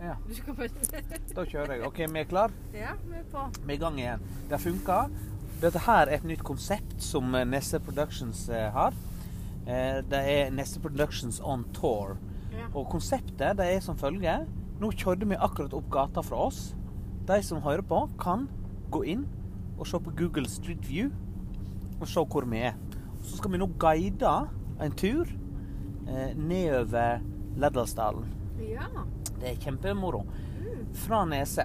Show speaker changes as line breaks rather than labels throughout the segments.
Ja.
Du skal bare
Da kjører jeg. OK, vi er klar?
Ja, vi er på.
Vi er i gang igjen. Det funker. Dette her er et nytt konsept som eh, Nesse Productions eh, har. Eh, Det er Nesse Productions on tour.
Ja.
Og konseptet det er som følger. Nå kjørte vi akkurat opp gata fra oss. De som hører på, kan gå inn og se på Google Street View og se hvor vi er. Så skal vi nå guide en tur eh, nedover Lærdalsdalen.
ja.
Det er kjempemoro. Fra Nese.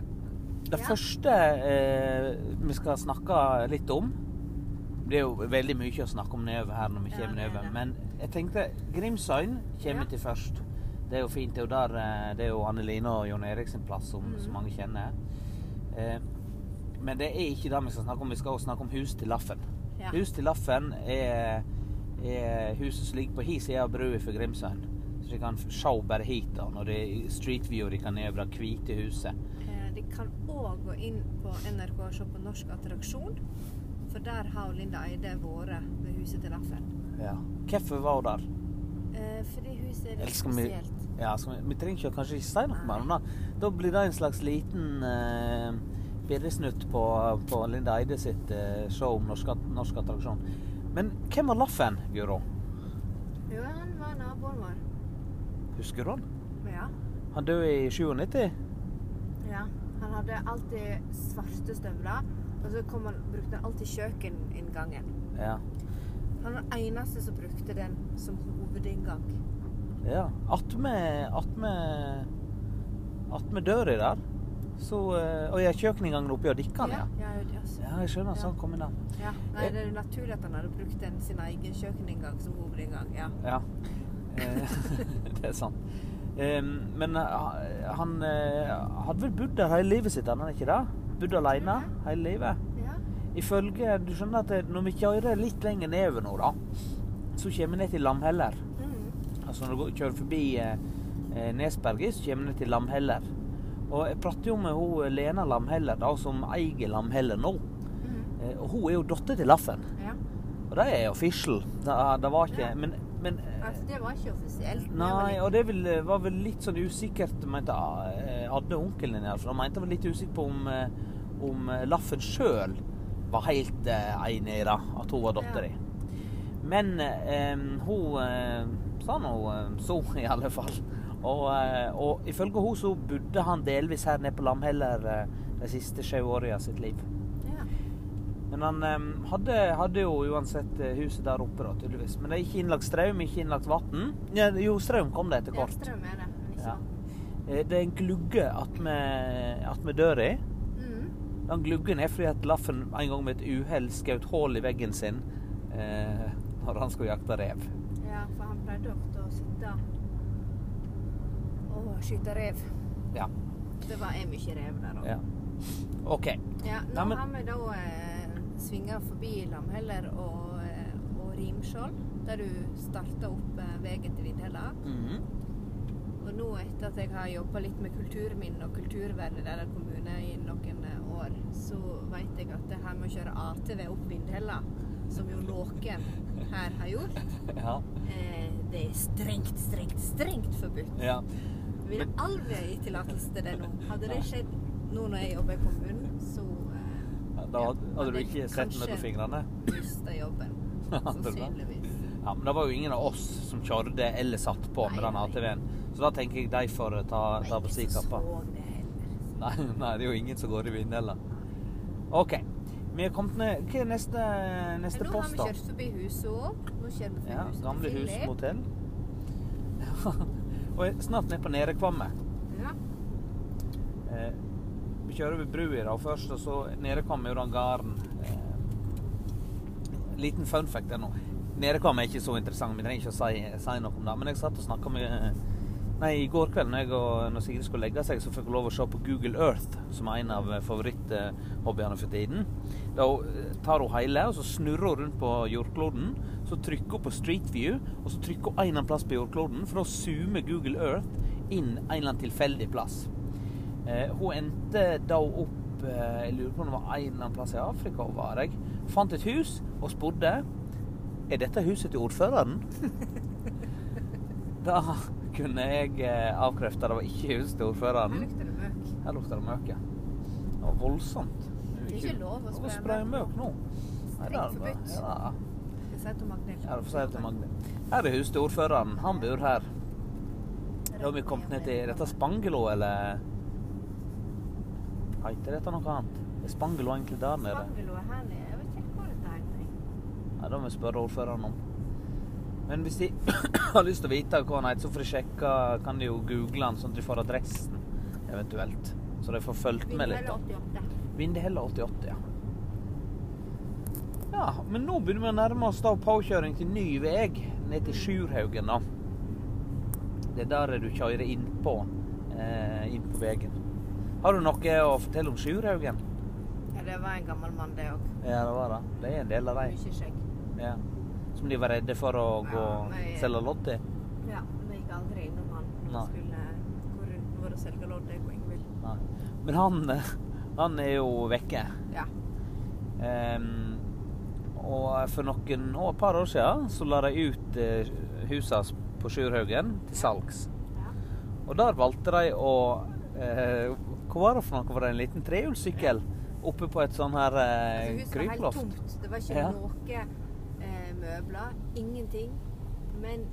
Det
Ja.
første eh, vi skal snakke litt om Det er jo veldig mye å snakke om nedover her når vi
Ja,
kommer
det er
nedover.
det.
Men jeg tenkte Grimsøyen kommer
Ja.
til først. Det er jo fint. Det er jo der eh, det er jo Anne Line og Jon Erik sin plass som,
Mm.
som mange kjenner. Eh, men det er ikke det vi skal snakke om. Vi skal også snakke om hus til Laffen.
Ja.
Hus til Laffen er, er huset som ligger på hi side av brua for Grimsøyen. Så de kan se bare hit da, når det er street view og de kan ned over det hvite huset.
Eh, De kan òg gå inn på NRK og se på Norsk attraksjon. For der har Linda Eide vært med Huset til Laffen.
Ja. Hvorfor var hun der?
Eh, fordi huset er litt
Elsker vi-
spesielt.
Ja, skal vi, vi trenger ikke å kanskje ikke si noe mer om det. Da blir det en slags liten eh, birresnutt på, på Linda Eide sitt eh, show om norsk, at- norsk attraksjon. Men hvem var Laffen, Guro?
Jo, han var naboen vår.
Husker du han?
Ja.
Han døde i 97.
ja. Han hadde alltid svarte støvler. Og så kom han, brukte han alltid kjøkkeninngangen.
Ja.
Han var den eneste som brukte den som hovedinngang.
Ja. Attmed Attmed Attmed døra der. Så eh, Og jeg kjøkkeninngangen oppi og dikka den, ja.
Ja, altså. ja, ja, så-
Ja, jeg skjønner. Sånn kom den der.
ja. Nei, det er jo naturlig at han hadde brukt den sin egen kjøkkeninngang som hovedinngang. Ja.
Ja. Eh, det er sant. Eh, Men eh, han eh, hadde vel bodd der hele livet sitt, hadde han ikke det? Bodd alene hele livet.
ja.
Ifølge Du skjønner at det- når vi kjører litt lenger nedover nå, da, så kommer vi ned til Lamheller.
Mm.
Altså når du går- kjører forbi eh, eh, Nesberget, så kommer du til Lamheller. Og jeg prater jo med hun eh, Lena Lamheller, da, som eier Lamheller nå.
Mhm.
Eh, Og hun er jo datter til Laffen.
Ja.
Og det er official. Det, det var ikke
Ja.
Men, men eh,
Altså, det var ikke offisielt. det var
Nei,
litt-
og det vel, var vel litt sånn usikkert, mente eh, Adde onkelen din iallfall. Han mente han var litt usikker på om, eh, om eh, Laffen sjøl var helt eh, enig i det, at hun var dattera. Men eh, hun eh, sa nå eh, så, i alle fall. Og, eh, og ifølge hun så bodde han delvis her nede på Lamheller eh, de siste sju åra av sitt liv.
Ja.
Men han eh, hadde, hadde jo uansett eh, huset der oppe, da, tydeligvis. Men det er ikke innlagt strøm, ikke innlagt vann. Ja, jo, strøm kom det etter
Ja,
hvert.
strøm er det, men ikke
Ja.
vann.
Eh, Det er en glugge attmed døra.
Mhm.
Den gluggen er fordi at Laffen en gang med et uhell skjøt hull i veggen sin eh, når han skulle jakte rev.
Ja, for han pleide ofte å sitte og skyte rev.
Ja.
Det var jeg mye rev der òg.
ja. OK.
Ja, nå
Nei, men-
har vi da eh, svinga forbi Lamheller og, eh, og Rimskjold, der du starta opp eh, veien til Vindhella.
Mhm.
Mm. Og nå etter at jeg har jobba litt med kulturminn og kulturvern i Lærdal kommune i noen eh, år, så vet jeg at det her med å kjøre ATV opp Vindhella, som jo noen her har gjort,
Ja.
eh, det er strengt, strengt, strengt forbudt.
ja.
Jeg ville aldri ha gitt tillatelse til det nå. Hadde det skjedd nå når jeg jobber i kommunen, så eh,
Da hadde, hadde du ikke sett mellom
Kanskje.
fingrene?
mista jobben.
Hadde du det?
Sannsynligvis.
Ja, men det var jo ingen av oss som kjørte eller satt på med
Nei,
den
nei.
ATV-en. Så da tenker jeg de får ta,
Det
ta
var
på si
ingen som
kappa.
så det heller.
Nei, nei, det er jo ingen som går i vindheller. OK. Vi er kommet ned Hva er neste, neste
Men nå har
post,
vi
da?
kjørt forbi huset òg. Nå kjører vi forbi
Ja,
huset til
gamle hus,
Philip.
motell. Ja. Og jeg- snart ned på Nerekvammet.
Ja.
Eh, vi kjører over brua da først, og så Nerekvammet er jo den gården. Eh, liten fun fact der nå. Nerekvammet er ikke så interessant, vi trenger ikke å si, si noe om det. Men jeg satt og snakka med eh, Nei, i går kveld når, jeg og, når Sigrid skulle legge seg, så fikk hun lov å se på Google Earth, som er en av eh, favoritthobbyene for tiden. Da hun- tar hun hele, og så snurrer hun rundt på jordkloden. Så trykker hun på Street View, og så trykker hun en eller annen plass på jordkloden, for da zoomer Google Earth inn en eller annen tilfeldig plass. Eh, hun endte da opp eh, Jeg lurer på om det var en eller annen plass i Afrika hun var. Jeg fant et hus og spurte Er dette huset til ordføreren. Da kunne jeg eh, avkrefte. Det var ikke huset til
Her
ordføreren.
lukter det møk.
Her lukter det møk, ja. Det var voldsomt.
Det er ikke lov å spraye
spraye
møk
møk nå. Nei, det er
Strengt
det
forbudt.
bare- Ja,
Jeg sier til Magnhild.
ja, du får si det til Magne. Her er huset til ordføreren. Han bor her. Da har vi kommet ned til er dette Spangelo, eller Heter dette noe annet? Er Spangelo egentlig der nede?
Spangelo er her nede. Jeg vet ikke hvor dette er. nei.
Nei, det må vi spørre ordføreren om. Men hvis de har lyst til å vite hva han heter, så får de sjekke, kan de jo google han, sånn at de får adressen, eventuelt. Så de får fulgt med litt.
Vindmølle
da.
88.
Vindhelle 88, ja. Ja, men nå begynner vi å nærme oss da påkjøring til ny vei ned til Sjurhaugen, da. Det er der du kjører innpå eh, inn på veien. Har du noe å fortelle om Sjurhaugen?
Ja, det var en gammel mann, det òg.
Ja, det var det. Det er en del av dem.
Mye skjegg.
Ja. Som de var redde for å
Ja,
gå og
nei.
selge lodd til?
Ja, vi gikk aldri innom han når
Nei.
vi skulle gå rundt vår og selge lodd. Det er poenget mitt.
Nei. Men han, eh, han er jo vekke.
Ja.
Ehm, og for noen og et par år siden så la de ut eh, huset hans på Sjurhaugen til salgs.
Ja.
Og der valgte de å eh, Hva var det for noe? Var det en liten trehjulssykkel oppe på et sånn her eh,
Altså, huset var helt
kryploft?
tomt. Det var ikke
Ja.
noe eh, møbler. Ingenting. Men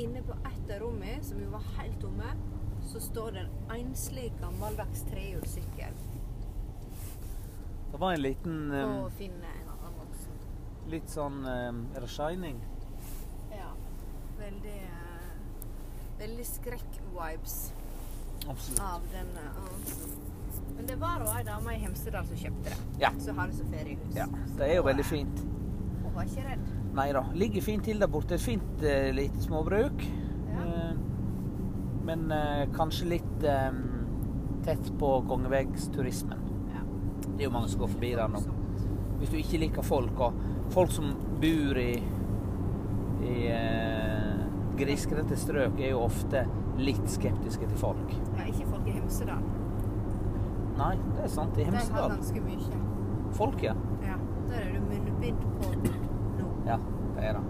inne på ett av rommene, som jo var helt tomme, så står det en enslig, gammeldags trehjulssykkel.
Det var en liten eh,
Og finner en annen voksen.
Litt sånn eh, Er det Shining?
Ja. Veldig eh, Veldig skrekk-vibes
Absolutt.
av den. eh, ja. Men det var òg ei dame i Hemsedal som kjøpte det.
Ja.
Som har det som feriehus.
Ja. Det er jo veldig fint.
Hun var ikke redd.
Nei da. Ligger fint til der borte. Et fint eh, lite småbruk.
Ja.
Eh, men eh, kanskje litt eh, tett på kongevegsturismen.
Ja.
Det er jo mange som går forbi der nå. Hvis du ikke liker folk, og folk som bor i, i eh, grisgrendte strøk, er jo ofte litt skeptiske til folk.
Ja, ikke folk i Hemsedal.
Nei, det er sant. I
De har
Hemsedal.
ganske mye.
Folk, ja.
Ja, da er det munnbind på nå.
Ja, det er det.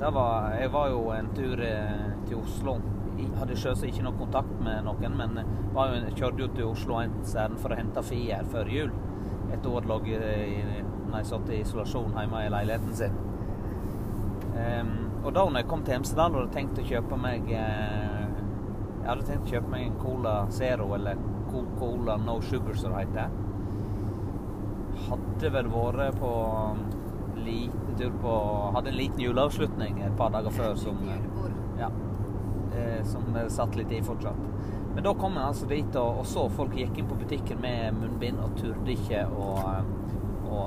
det var, jeg var jo en tur eh, til Oslo. Jeg hadde selvsagt ikke noe kontakt med noen, men eh, var jo, kjørte jo til Oslo ens ærend for å hente Fi her før jul. Et år lå jeg i- når jeg satt i isolasjon hjemme i leiligheten sin. Ehm, og da når jeg kom til Hemsedal, hadde jeg tenkt å kjøpe meg eh, Jeg hadde tenkt å kjøpe meg en Cola Zero, eller Co- Cola No Sugar, som det heter hadde vel vært på um, liten tur på Hadde en liten juleavslutning et par dager før som eh,
Julebord.
Ja. eh, Som satt litt i fortsatt. Men da kom jeg altså dit og, og så folk gikk inn på butikken med munnbind og turde ikke å, eh, å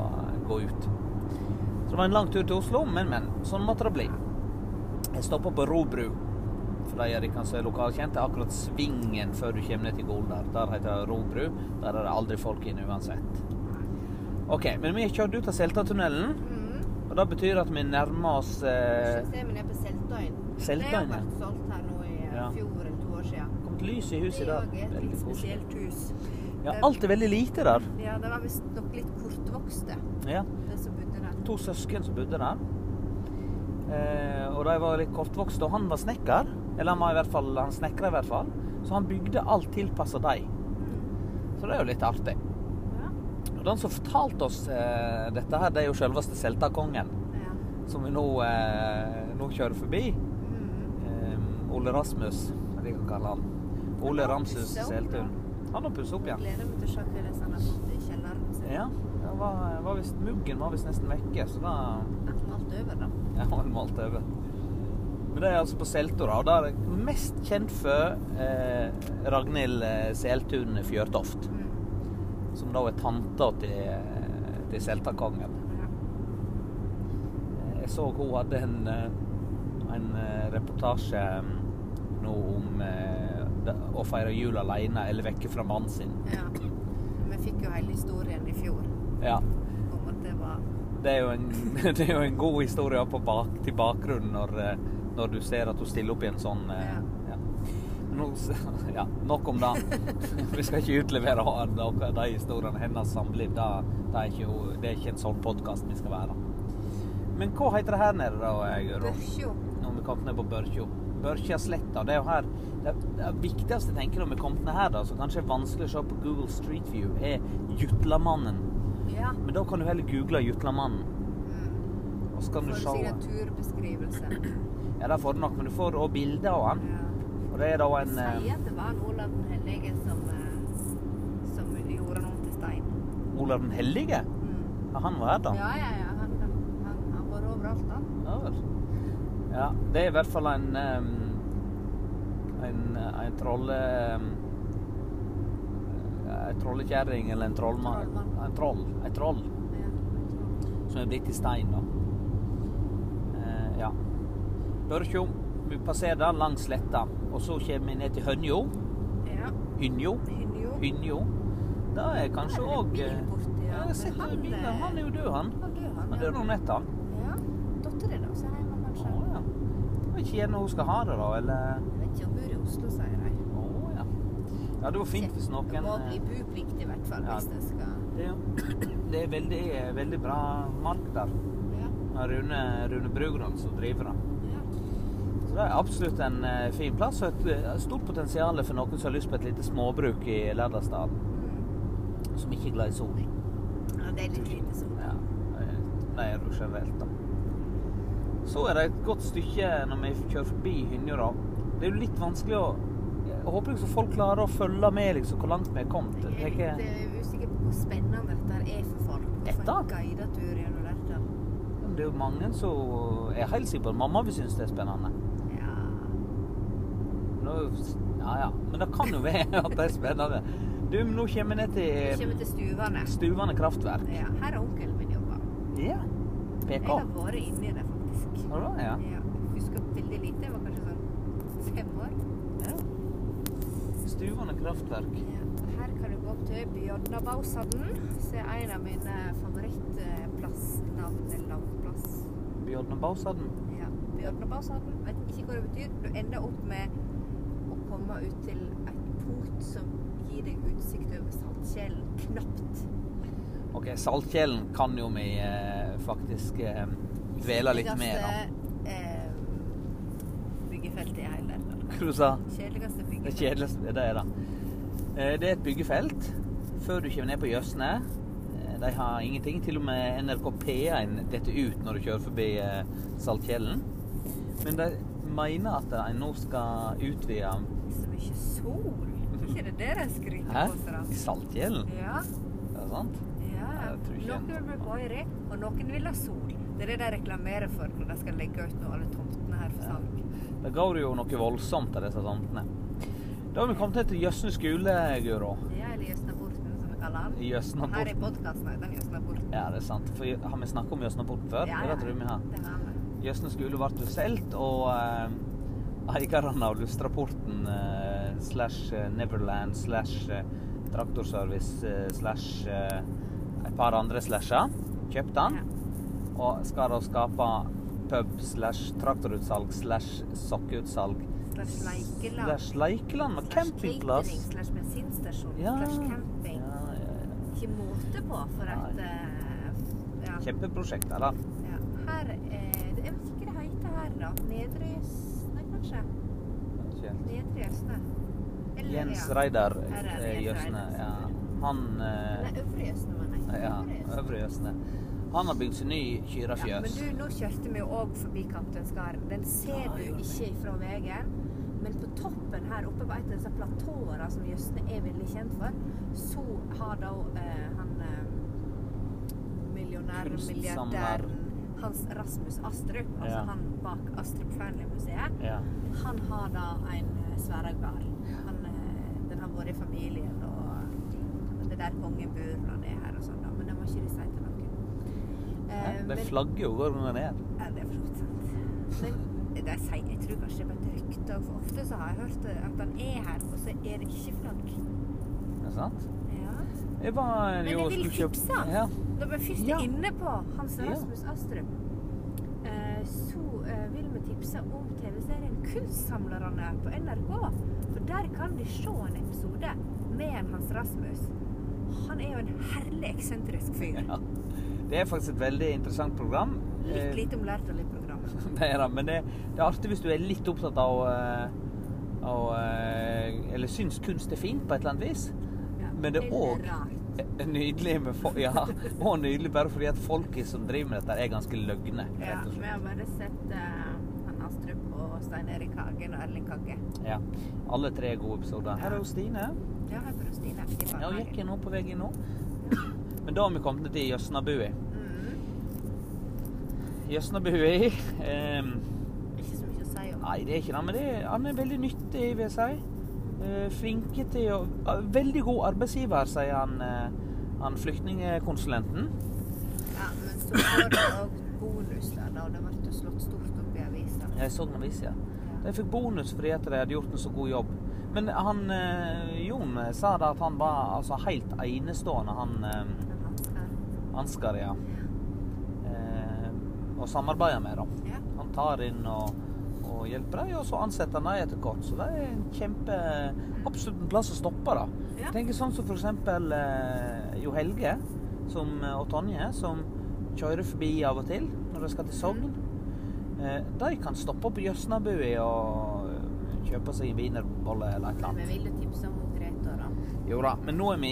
gå ut. Så det var en lang tur til Oslo, men, men. Sånn måtte det bli. Jeg stoppa på Robru. For de er kanskje lokalkjente. Akkurat svingen før du kommer ned til Goldar. Der heter det Robru. Der er det aldri folk inne uansett. OK, men vi har kjørt ut av Seltatunnelen.
Mm.
Og det betyr at vi nærmer oss eh,
Systemet er på Seltøyen. Det har
Seltøyen.
vært solgt her nå i eh,
Ja.
fjor eller to år siden.
Det kom et lys i huset
Det
der.
òg er et
Veldig
litt
koselig.
spesielt hus.
Ja, alt er veldig lite der.
Ja, det var visstnok litt kortvokste,
Ja.
det som bodde der.
To søsken som bodde der. Eh, og de var litt kortvokste, og han var snekker. Eller han var i hvert fall, han snekra i hvert fall. Så han bygde alt tilpassa dem.
Mm.
Så det er jo litt artig.
Ja.
Og den som fortalte oss eh, dette her, det er jo selveste Seltakongen.
Ja.
Som vi nå, eh, nå kjører forbi.
Mm.
Eh, Ole Rasmus, som jeg liker å kalle han. Ole
Han har
Ramsus
pusset opp,
Seltun. Han har pusset opp
Jeg
igjen.
gleder meg til å se hva det er som har fått i kjelleren sin.
Ja. Det var, var visst, muggen var visst nesten vekke, så da
Alt over, da.
ja, han malte over. Men det er altså på Selto, da. Og det er jeg mest kjent for eh, Ragnhild eh, Seltun Fjørtoft.
Mm.
Som da er tanta til, eh, til Seltakongen.
Ja.
Jeg så hun hadde en, eh, en eh, reportasje mm, nå om eh, det- å feire jul alene eller vekke fra mannen sin.
ja. Vi fikk jo hele historien i fjor
Ja,
om at det var
det er jo en, det er jo en god historie å ha på bak, til bakgrunn når, eh, når du ser at hun stiller opp i en sånn eh, ja. Nå, s- ja, nok om det. Vi skal ikke utlevere han- noe av de historiene hennes samliv. Det, det, er ikke, hun- det er ikke en sånn podkast vi skal være. Men hva heter det her nede, da, eh, Guro?
Børsjo.
Når vi kom ned på Børkjo? Børkjasletta. Det er jo her det, det viktigste jeg tenker når vi kommer ned her, da, som kanskje er vanskelig å se på Google Street View, er Jutlamannen.
Ja.
Men da kan du heller google Jutlamannen,
Mm.
og så kan du
Får
se
signaturbeskrivelse.
Ja, det får du nok, men du får òg bilder av han.
Ja.
Og det er da
De
en eh,
sier at det var en Olav den hellige som, eh, som gjorde noe til stein.
eh, Olav den hellige.
Mm.
Ja, han var her, da.
Ja, ja, ja. Han, han, han, han var overalt, han.
Ja, vel. ja, det er i hvert fall en um, en, en trolle... Um, en trollekjerring eller en trollmann.
Trollmann.
En troll. En troll
Ja, jeg tror.
som er blitt til stein, da. Eh, ja. Børkjo. Vi passerer der langs sletta, og så kommer vi ned til Hønjo.
ja.
Hynjo.
Hynjo.
Hynjo. Det er kanskje eh,
Der er det
òg
bil borti, ja. Men han,
Han,
eh,
han er jo død, han.
Han døde, han.
Han døde om netta.
Ja. Datteren din også er hjemme,
Å
kanskje?
ja. Jeg vet ikke gjerne hun skal ha det, da, eller
Jeg vet ikke om bor i Oslo, sier de.
Å ja. Ja, det var fint hvis noen
Det må bli
eh,
buplikt, i hvert fall,
Ja.
hvis det skal
Det det er veldig, veldig bra mark der.
Ja.
Med Rune, Rune Brugran som driver det.
ja.
Så det er absolutt en eh, fin plass og et eh, stort potensial for noen som har lyst på et lite småbruk i Lærdalsdalen,
Mm.
som ikke er glad i sol.
ja. Det er litt lite sånn.
Ja, eh, det er jo generelt, da. Så er det et godt stykke når vi kjører forbi Hynjo, da. Det er jo litt vanskelig å Jeg håper liksom folk klarer å følge med liksom hvor langt vi er kommet. Jeg
Jeg
tenker-
er litt eh, usikker på hvor spennende dette her er for folk. å få en
Dette?
guidet tur gjennom dette.
Men Det er jo mange som Jeg er helt sikker på at mamma vil synes det er spennende.
Ja.
Nå, ja, ja. Men det kan jo være at det er spennende. Du, men nå kommer vi ned
Vi
til
kommer til stuene.
Stuvane kraftverk.
Ja. Her har onkelen min jobba.
Ja.
Jeg
PK.
har vært inni det, faktisk.
Har du det? Ja.
Ja. Husker veldig lite. Jeg var kanskje sånn fem år.
Stuvane kraftverk.
Her kan du gå opp til Bjørnabausanden, som er en av mine favorittplassnavn eller navnplass.
Bjørnebausaden.
Ja. Bjørnabausanden. sånn. Vet ikke hva det betyr. Du ender opp med å komme ut til et punkt som gir deg utsikt over Saltkjellen. Knapt.
OK, Saltkjellen kan jo vi eh, faktisk eh, dvele litt med, da.
Kjedeligste, eh, byggefeltet i hele landet.
Hva du sa
Kjedeligste
Det
byggefeltet.
kjedeligste det er det. Eh, Det er et byggefelt før du kommer ned på Jøsne. Eh, De har ingenting. Til og med NRK P1 detter ut når du kjører forbi eh, Saltkjellen. Men de mener at de nå skal utvide
Så mye sol. Ikke det der jeg skryter
Hæ?
på for
I Saltkjellen?
Ja.
Er det sant?
Ja,
Jeg tror ikke
noen
jeg-
vil gå i rek, og noen vil ha sol. Det er det de reklamerer for når de skal legge ut nå alle tomtene her for salg.
Da går det jo noe voldsomt av disse tomtene. Da har vi kommet ned til Jøsne skole, Guro.
Ja, eller Jøsnaporten, som vi kaller den.
Jøsnaporten.
Her i podkasten heter den Jøsnaporten.
Ja, det er sant. For har vi snakket om Jøsneporten før? Det tror jeg vi har.
Det har vi.
Jøsne skole ble solgt, og eh, eierne av Lustrapporten eh, slash eh, Neverland slash eh, Traktorservice eh, slash eh, et par andre slasher kjøpte han.
Ja.
Og skal da skape pub slash traktorutsalg slash sokkeutsalg
Slash leikeland.
slash leikeland med
Slash
campingplass.
catering, Slash bensinstasjon.
Ja,
Slash camping.
ja, ja, ja.
Ikke måte på for at
Nei.
eh, ja.
Kjempeprosjekt, da.
ja. Her eh, Jeg vet ikke hva det heter her, da. Nedre Jøsne, kanskje? Nedre Jøsne. Eller,
Jens
ja.
Reidar
Her er
eh,
Jens
Jøsne.
Reidar.
Ja. Han eh,
Nei, Øvre Jøsne, mener jeg.
Ja,
Øvre Jøsne.
Øvre Jøsne. Han har bygd seg ny
Ja, men
Kyrafjøs.
du, nå kjørte vi jo òg forbi Kaptein Skaren. Den ser
Ja,
du
gjorde vi.
ikke fra veien. Men på toppen her oppe på et av disse platåene som Jøsne er veldig kjent for, så har da eh, han eh, millionæren,
Kunstsamler.
milliardæren Hans Rasmus Astrup, altså
Ja.
han bak Astrup Fearnley-museet,
Ja.
han har da en eh, sverregard. Han, eh, Den har vært i familien, og det er der kongen bor når han er her og sånn, da. Men det må ikke de si til noen. Eh,
Det
men-
flagger jo går under ned.
ja, det er for så vidt sant. Men det er seigt. Jeg tror kanskje det er bare et rykte. og For ofte så har jeg hørt at han er her, og så er det ikke flagg.
Er det sant?
Ja.
Jeg var
Men
jo
jeg vil
skulle kjøpe-
fikse han.
Ja.
Da vi først
Ja.
er inne på Hans
Ja.
Rasmus Astrup, eh, så eh, vil vi tipse om TV-serien Kunstsamlerne på NRK. For der kan de se en episode med en Hans Rasmus. Han er jo en herlig eksentrisk fyr.
ja. Det Det er faktisk et veldig interessant program.
Litt
Eh,
lite om lært og litt program.
det er det, men det, det er artig hvis du er litt opptatt av eh, av, eh, Eller syns kunst er fint på et eller annet vis.
Ja.
Men det er
Eller
òg
rart.
nydelig med fo Ja, og nydelig bare fordi at folket som driver med dette, er ganske løgne.
Ja,
Rett og
vi
slett.
har bare sett eh, han Astrup og Stein Erik Hagen og Erling Kagge.
Ja. Alle tre er gode episoder. Her er jo Stine.
Ja, her på Rustine. i
Ja, hun gikk
barnehagen.
jeg nå på vei inn nå. Men da har vi kommet til Jøsnabua.
Mm.
Jøsnabua ehm,
Ikke så mye å si om.
Nei, det er ikke det, men det er, han er veldig nyttig, vil jeg si. Eh, flinke til å ah, Veldig god arbeidsgiver, sier han, eh, han flyktningkonsulenten.
Ja, men så var det òg bonus da, da det ble jo slått stort opp i avisa.
Jeg så den avisa.
Ja.
De fikk bonus fordi at de hadde gjort en så god jobb. Men han eh, Jon eh, sa da at han var altså helt enestående, han eh,
Men han skal-
Ansgar, ja. Eh, og samarbeider med, da.
Ja.
Han tar inn og, og hjelper dem, og så ansetter han dem etter hvert. Så det er en kjempe Absolutt en plass å stoppe, da.
Ja.
Jeg tenker sånn som for eksempel eh, Jo Helge som, eh, og Tonje, som kjører forbi av og til når de skal til Sogn.
Mm.
Eh, de kan stoppe på Jøsnabua og eh, kjøpe seg en wienerbolle eller et eller
Vi
annet.
vil jo tipse om Greta, da.
Jo da, men nå er vi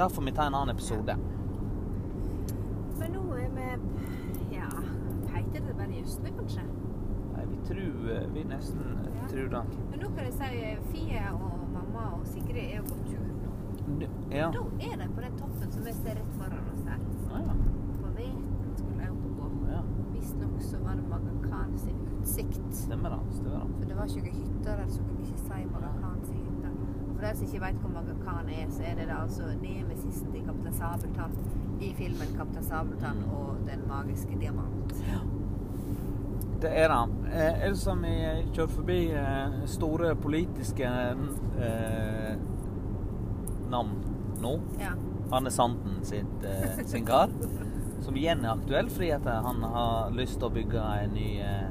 Da får vi ta en annen episode.
Men nå er vi Ja, heter det bare Justene, kanskje?
Nei, vi tror eh, Vi nesten
Ja.
tror det.
Men nå kan jeg si eh, Fie og mamma og Sigrid er jo på tur nå.
Ja.
Da er de på den toppen som vi ser rett foran oss her.
Ja,
På Veten skulle de opp på.
ja.
Visstnok så var det Magakan sin utsikt.
Stemmer det. Stemmer det.
For det var ikke noen hytter der, så kan vi ikke si Magakan sin hytte. Og for de som ikke vet hvor Magakan er, så er det da altså nemesisen til Kaptein Sabeltann i filmen 'Kaptein Sabeltann
Mm.
og den magiske diamant'.
Det er det. Eh, ellers har vi kjørt forbi eh, store politiske eh, navn nå.
Ja.
Arne Sanden sitt, eh, sin kar. Som igjen er aktuell fordi at eh, han har lyst til å bygge et ny, eh,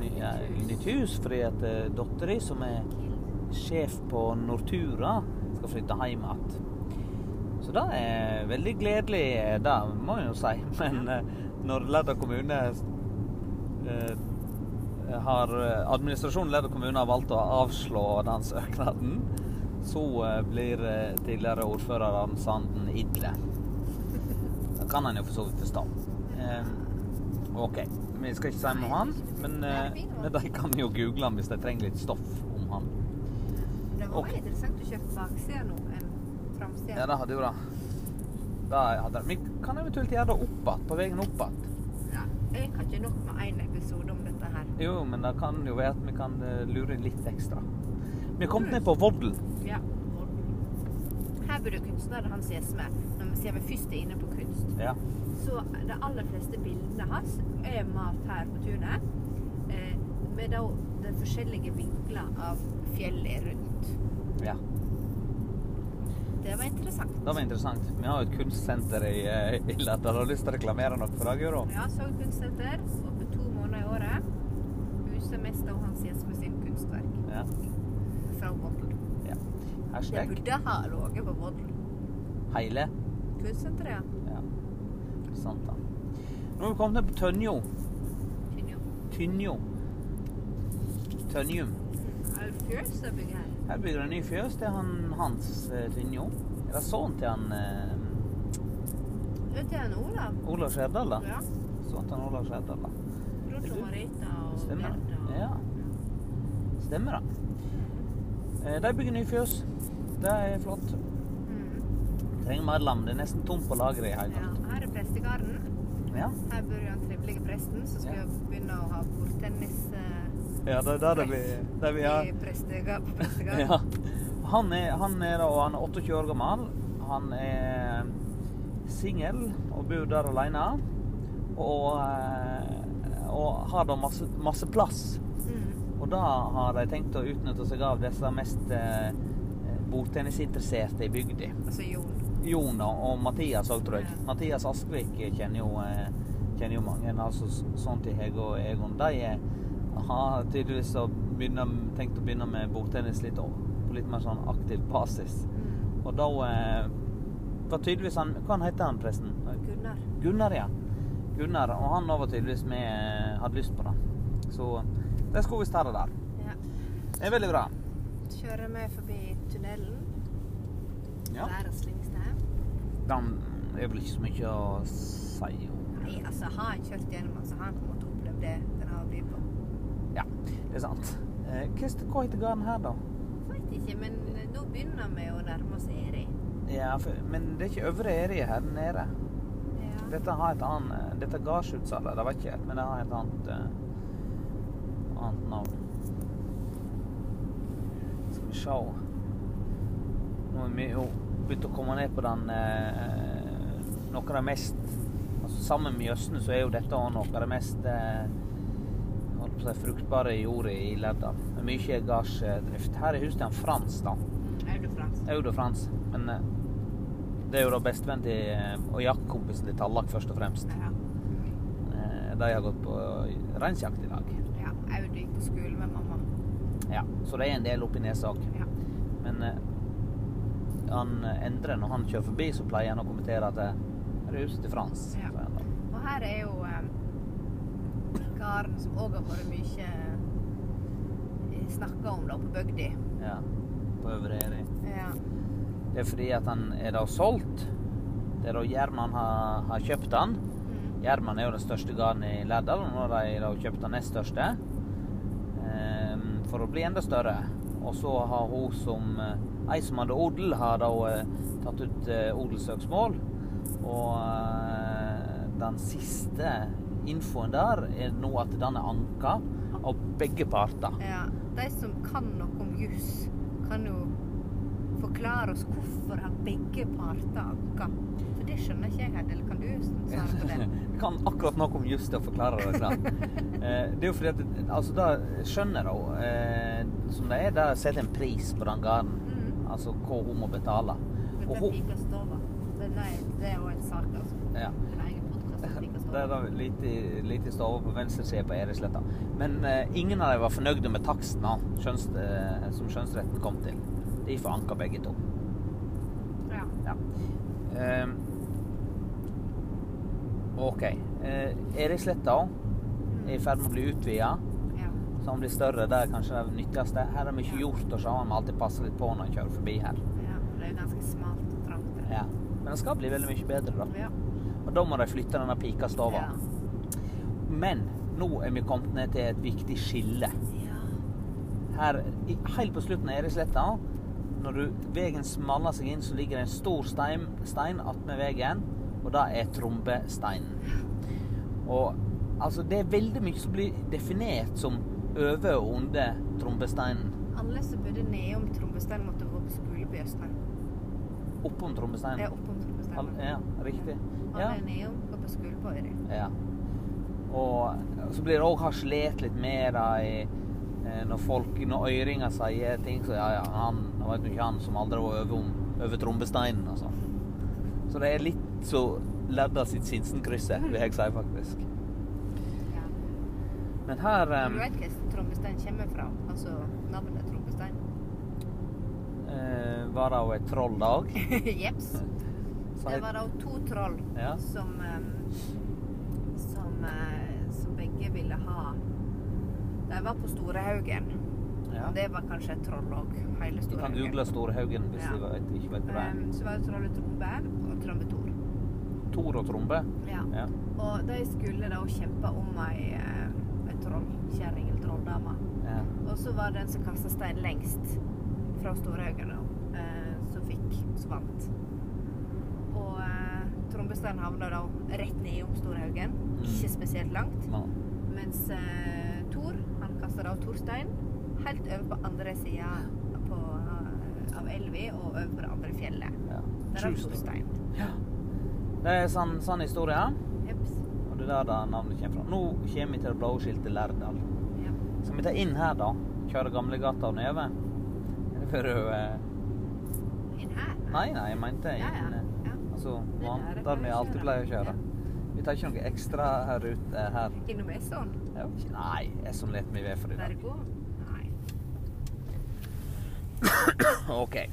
ny, eh, nytt hus. Fordi at eh, dattera som er sjef på Nortura, skal flytte hjem igjen. Så det er veldig gledelig, eh, det må jeg jo si. Men eh, når Ledda kommune eh, har eh, Administrasjonen i Ledda kommune har valgt å avslå den søknaden, så eh, blir eh, tidligere ordfører Arne Sanden idle. Det kan han jo for så vidt forstå. Eh, OK. Vi skal ikke si noe om han, men, eh, men de kan jo google han hvis de trenger litt stoff om han.
Det var
Ok.
mer interessant å kjøpe baksida nå enn framsida.
Ja, det hadde jo det. Da hadde Vi kan eventuelt gjøre det opp igjen, på veien opp igjen.
Ja, Jeg kan ikke nok med én episode om dette her.
Jo, men det kan jo være at vi kan eh, lure inn litt ekstra. Vi er kommet ned på Voddel.
Ja. Her burde kunstneren hans Gjesme, når vi ser vi først er inne på kunst.
Ja.
Så de aller fleste bildene hans er malt her på tunet. Eh, med da de forskjellige vinkler av fjellet rundt.
ja.
Det var interessant.
Det var interessant. Vi har jo et kunstsenter i, eh, i Latter. Har du lyst til å reklamere noe for det, Guro?
Ja, Sogn kunstsenter. Åpent to måneder i året. Huset mest av hans Gjesme sin kunstverk
Ja.
fra Vold.
ja.
Det
Hashtag
burde ha ligget på Vold
Heile.
kunstsenter, ja.
Ja. Sant, da. Nå har vi kommet ned på Tønjo.
Finner jo
Tynjo. Tønjum.
Er det fjøs det bygget her?
Her bygger en ny fjøs til han Hans eh, Tynjo. Er det sønnen til han eh,
Det er til en Olav.
Olav Skjerdal, da?
Ja.
Sønnen til han Olav Skjerdal, da.
Bror til Marita og
Stemmer det.
Gerda.
Ja. Stemmer det. Eh, De bygger ny fjøs. Det er flott.
Mm.
Trenger mer lam. Det er nesten tomt på lageret i hele
ja.
tatt.
Her er prestegarden.
Ja.
Her bor jo den trivelige presten som skal
Ja.
begynne å ha bordtennis eh,
ja, det er der det blir det vi har.
i prestega, på prestegarden.
Ja. Han er, han er da han er 28 år gammel. Han er singel og bor der alene. Og, eh, og har da masse, masse plass.
Mm.
Og da har de tenkt å utnytte seg av disse mest eh, bordtennisinteresserte i bygda.
Altså Jon.
Jon og og Mathias òg, tror jeg.
Ja.
Mathias Askvik kjenner jo, eh, kjenner jo mange. Altså s- sånn til Hege og Egon. De er- har tydeligvis å begynne, tenkt å begynne med bordtennis litt, o- på litt mer sånn aktiv basis.
Mm.
Og da eh, var tydeligvis han Hva han heter han, presten?
Gunnar.
Gunnar, ja. Gunnar, og han var tydeligvis med hadde lyst på det. Så de skulle visst ha det der.
Ja.
Det er veldig bra.
Kjører vi forbi tunnelen.
Ja.
Verdens lengste.
Den er vel ikke så mye å si om.
Nei, altså har han kjørt gjennom, altså har han på en måte opplevd det den har å by på.
Ja, det er sant. Eh, hva st- hva heter gården her, da?
Veit ikke, men eh, nå begynner vi å nærme oss Eri.
Ja, for, men det er ikke Øvre Eri her nede.
Ja.
Dette har et annet eh, Dette gardsutsalget, det vet ikke helt, men det har et annet eh, annet navn. Skal vi sjå Nå er vi jo begynt å komme ned på den eh, noe av det mest altså Sammen med Jøssene så er jo dette også noe av det mest eh, holdt på å si, fruktbare jorda i Ledda. Med Mye gardsdrift. Her er huset til han Frans, da.
Aud og Frans.
Aud og Frans. Men eh, det er jo da bestevenn til eh, og jaktkompisen til Tallak, først og fremst.
Ja.
Eh, De har gått på eh, reinsjakt i dag.
ja. Aud gikk på skole med mamma.
Ja, så det er en del oppi nesa òg.
Ja.
Men eh, han eh, Endre, når han kjører forbi, så pleier han å kommentere at eh, her er huset til Frans.
Ja.
sier han da.
Og her er jo um, karen som òg har vært mye snakka om da, på bygda.
Ja. På Øvre Eri.
Ja.
Det er fordi at han er da solgt. Det er da Gjerman har, har kjøpt han.
Mm.
Gjerman er jo den største gården i Lærdal, og nå har de da kjøpt den nest største ehm, for å bli enda større. Og så har hun som eh, ei som hadde odel, har da eh, tatt ut eh, odelssøksmål. Og eh, den siste infoen der er nå at den er anka av begge parter.
ja. De som kan noe om juss, kan jo forklare oss hvorfor har begge parter anka. For det skjønner ikke jeg helt. Eller kan du svare på det?
Jeg kan akkurat nok om just det å forklare det. klart. Eh, Det er jo fordi at altså, da skjønner hun, eh, som det er, da setter en pris på den gården.
Mm.
Altså hva hun må betale. Og
Dette
hun,
pikastova. Men nei, det er jo en sak, altså.
ja,
En egen podkast om
det er
pikastova.
da lite, lite stove på venstre side på Eresletta. Men eh, ingen av dem var fornøyde med taksten da, skjønns, eh, som skjønnsretten kom til. De foranka begge to.
Ja.
Ja. Eh, OK. Eh, Erisletta er i ferd med å bli utvida,
Mm. ja.
så han blir større. Det er kanskje det nyttigste. Her er mye
Ja.
hjort å se, han må alltid passe litt på når han kjører forbi her.
ja. Det er ganske smalt og trangt. det.
Ja. Men det skal bli veldig mye bedre, da.
Ja.
Og da må de flytte denne pikastova.
Ja.
Men nå er vi kommet ned til et viktig skille.
Ja.
Her, i- Helt på slutten av Erisletta, når du, veien smaller seg inn, så ligger det en stor stein, stein attmed veien, og det er Trombesteinen. Og altså, det er veldig mye som blir definert som over og under Trombesteinen.
Alle som bodde nedom Trombestein, måtte gå på skole på Jøsne.
Oppom
Det er
Trombesteinen.
oppom Trombestein.
Al- Ja, riktig. Ja.
Alle er nedom, går på skole på Øyri.
Ja. Og så blir det òg harselert litt med det i eh, Når folk, når øyringer sier ting, så ja, ja, han det var jo ikke han som aldri var over, om- over trombesteinen, altså. Så det er litt så Ledda sitt Sinsenkrysset, vil jeg si, faktisk.
Ja.
Men her
Du
eh,
vet hvor Trombestein kommer fra? Altså navnet Trombestein?
eh, var det jo et troll da òg.
Jeps. Det var da to troll
Ja.
som em, som, eh, som begge ville ha De var på Storehaugen.
Ja.
Og det var kanskje et troll òg. Hele
Du kan
Storehaugen.
google Storhaugen hvis
Ja.
du vet, ikke vet hva det er.
Em, Ehm, så var det trollet Trombe og Trombetor.
Tor og Trombe.
Ja.
Ja.
Og de skulle da kjempe om ei, eh, ei trollkjerring eller trolldame.
ja.
Og så var det den som kasta stein lengst fra Storhaugen, da, eh, som fikk, som vant. Og eh, Trombestein havna da rett nedom Storhaugen,
Mm.
ikke spesielt langt.
Nå.
Mens eh, Tor, han kasta da Torstein helt over på andre sida av elva og over på det andre fjellet.
Ja.
Der er Torstein.
Ja. Det er sann, sann historie. Ja.
Jeps.
Og det er der da navnet kommer fra. Nå kommer vi til det blå skiltet Lærdal.
Ja.
Skal vi ta inn her, da? Kjøre Gamlegata og nedover? Eller før du eh,
Inn her?
Nei, nei, jeg mente inn
Ja, ja.
eh,
ja.
Altså
Det
van-
der jeg
der vi
pleier å
alltid
kjøre.
pleier å kjøre. Vi tar ikke noe ekstra rute her.
Innom Esson?
Ja. Nei, jeg som leter meg ved for i
Der
dag.
det går? sånn. Nei.
OK.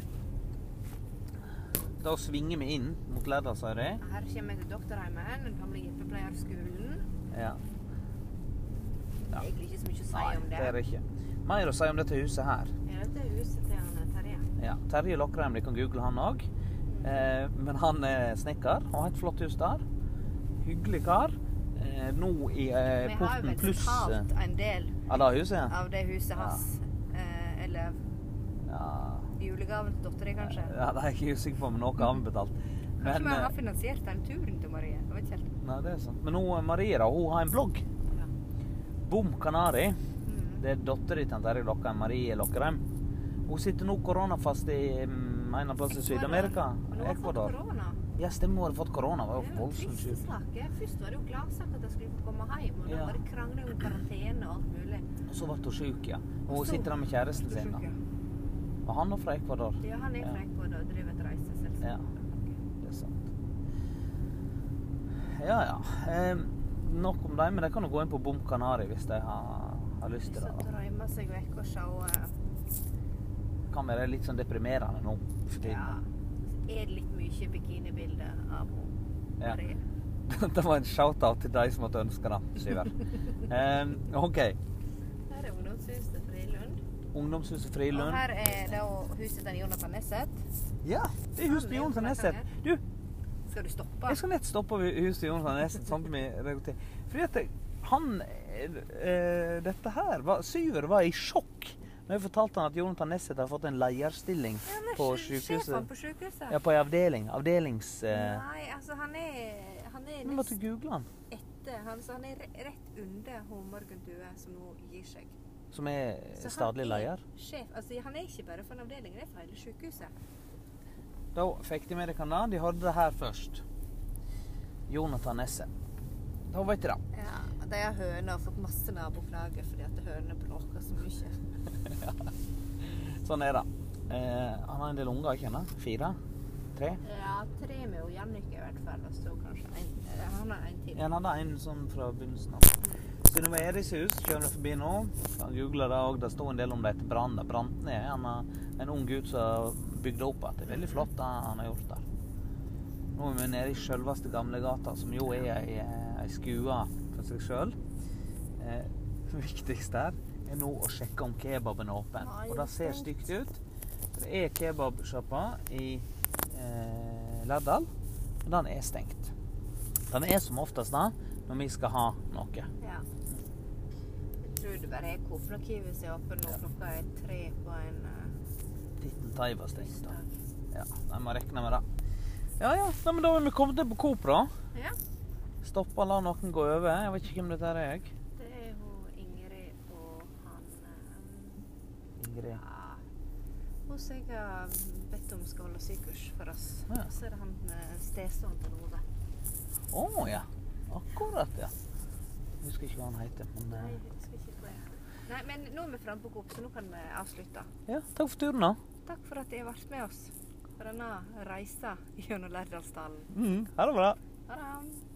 Da svinger vi inn mot Lærdalsøyri.
Her kommer jeg til doktorheimen, den gamle hjelpepleierskolen.
Ja.
Det
Ja.
er egentlig ikke så mye å si
Nei,
om det.
det er det ikke. Mer å si om dette huset her.
Ja, dette er huset til han Terje.
Ja. Terje Lokreim, dere kan google han òg. Eh, men han er snekker og har et flott hus der. Hyggelig kar. Eh, nå i eh,
Vi har jo
Porten
vel
Pluss eh,
talt en del
Ja, det huset? Ja.
av det huset hans. Eh, eller
Ja,
julegaven til dattera, kanskje.
ja det er jeg ikke usikker på, men noe har vi betalt.
Kanskje
Men,
vi har
eh,
finansiert den turen til Marie? Jeg vet ikke helt.
nei, det er sant. men nå, eh, Maria da, hun har en blogg.
Ja.
Bom Kanari.
Mm.
Det er dattera til Terje Lokheim, Marie Lokheim. Hun sitter nå koronafast i mm, en eller annen plass i Syd-Amerika.
Men hun har fått
Ecuador.
korona.
Ja, stemmer, hun hadde fått korona. Det
Det
var
er
jo
jo
voldsomt
triste
sykt.
saker. Først var det jo gladsak at jeg skulle få komme hjem, og nå
Ja.
var det krangling om karantene og alt mulig.
Og så ble hun syk, ja. Og
Og
hun
så-
sitter der med kjæresten sin. da. Og han er fra Ecuador.
Ja, han er
Ja.
frekk på det og driver et reiseselskap.
Ja. Det er sant. Ja, ja. Eh, nok om dem, men de kan jo gå inn på Bom Kanari hvis de har, har lyst til
Så
det. altså. da.
drømmer seg vekk og se eh,
Kan være litt sånn deprimerende nå for
Ja.
tiden.
Er det litt mye bikinibilde av henne?
Ja.
Marie?
Dette var en shout-out til de som måtte ønske det, Syvert. Eh, OK.
Her er ungdomshuset Frilund.
Ungdomshuset
Og
Frilund.
her er da huset til Jonathan Nesset.
Ja, det er huset til Jonsson Nesset. Du,
Skal du stoppe?
jeg skal nett stoppe ved huset til Jonsson Nesset samtidig med det. Fordi at det- han eh, eh, Dette her var, Syver var i sjokk når jeg fortalte han at Jonathan Nesset har fått en lederstilling
Ja, men
på
sj- Sjefen
sykehuset.
på sykehuset?
Ja, på en avdeling. Avdelings... eh,
Nei, altså han er Han er
Nå måtte
nest
jeg google han.
etter. Han, så han er re- rett under hun Morgan Due som nå gir seg.
Som er
Så
stadlig
han er
leder.
Sjef, altså han er ikke bare for en avdeling, det er for hele sykehuset.
Da fikk de med deg kanalen. De hørte det her først. Jonathan Nesset. Da vet de det.
Ja, De har høner og fått masse naboklager fordi at hønene bråker så mye.
Sånn er det. Eh, han har en del unger, ikke sant? Fire? Tre?
Ja, tre med jo Jannicke i hvert fall, og så kanskje en, eh, han har en til.
Ja, han hadde en sånn fra begynnelsen av. Synnøve Eriks hus kjører vi forbi nå. Kan google det òg. Det sto en del om det etter brannen. Det brant ned. Han er en ung gutt som bygde opp igjen. Det er veldig flott, det han har gjort der. Nå er vi nede i selveste gamlegata, som jo er ei, ei skue for seg sjøl. Eh, det viktigste her er nå å sjekke om kebaben er åpen. Og det ser stygt ut. Det er kebabsjappa i eh, Lærdal, og den er stengt. Den er som oftest det når vi skal ha noe.
Ja. Jeg tror det bare er Coop og Kiwi som er åpen nå.
Ja.
Klokka er tre på en eh,
Titten Tei var stengt. da.
tirsdag.
Ja, nei, må regne med det. Ja ja, nei, men da er vi kommet ned på Coop, da.
Ja.
Stoppa og la noen gå over. Jeg vet ikke hvem dette her er. jeg.
Det er hun Ingrid og han eh,
Ingrid.
Ja. Hun som jeg har bedt om skal holde sykurs for oss.
Ja.
Så er det han eh, stesønnen til Ove.
Å ja. Akkurat, ja. Jeg husker ikke hva han heter, men
Nei,
eh,
jeg husker ikke hva jeg er. Nei, men nå er vi framme på Coop, så nå kan vi avslutte.
Ja, takk for turen, da.
Takk for at dere har vært med oss på denne reisa gjennom Lærdalsdalen.
Mm, ha det bra.
Ha det!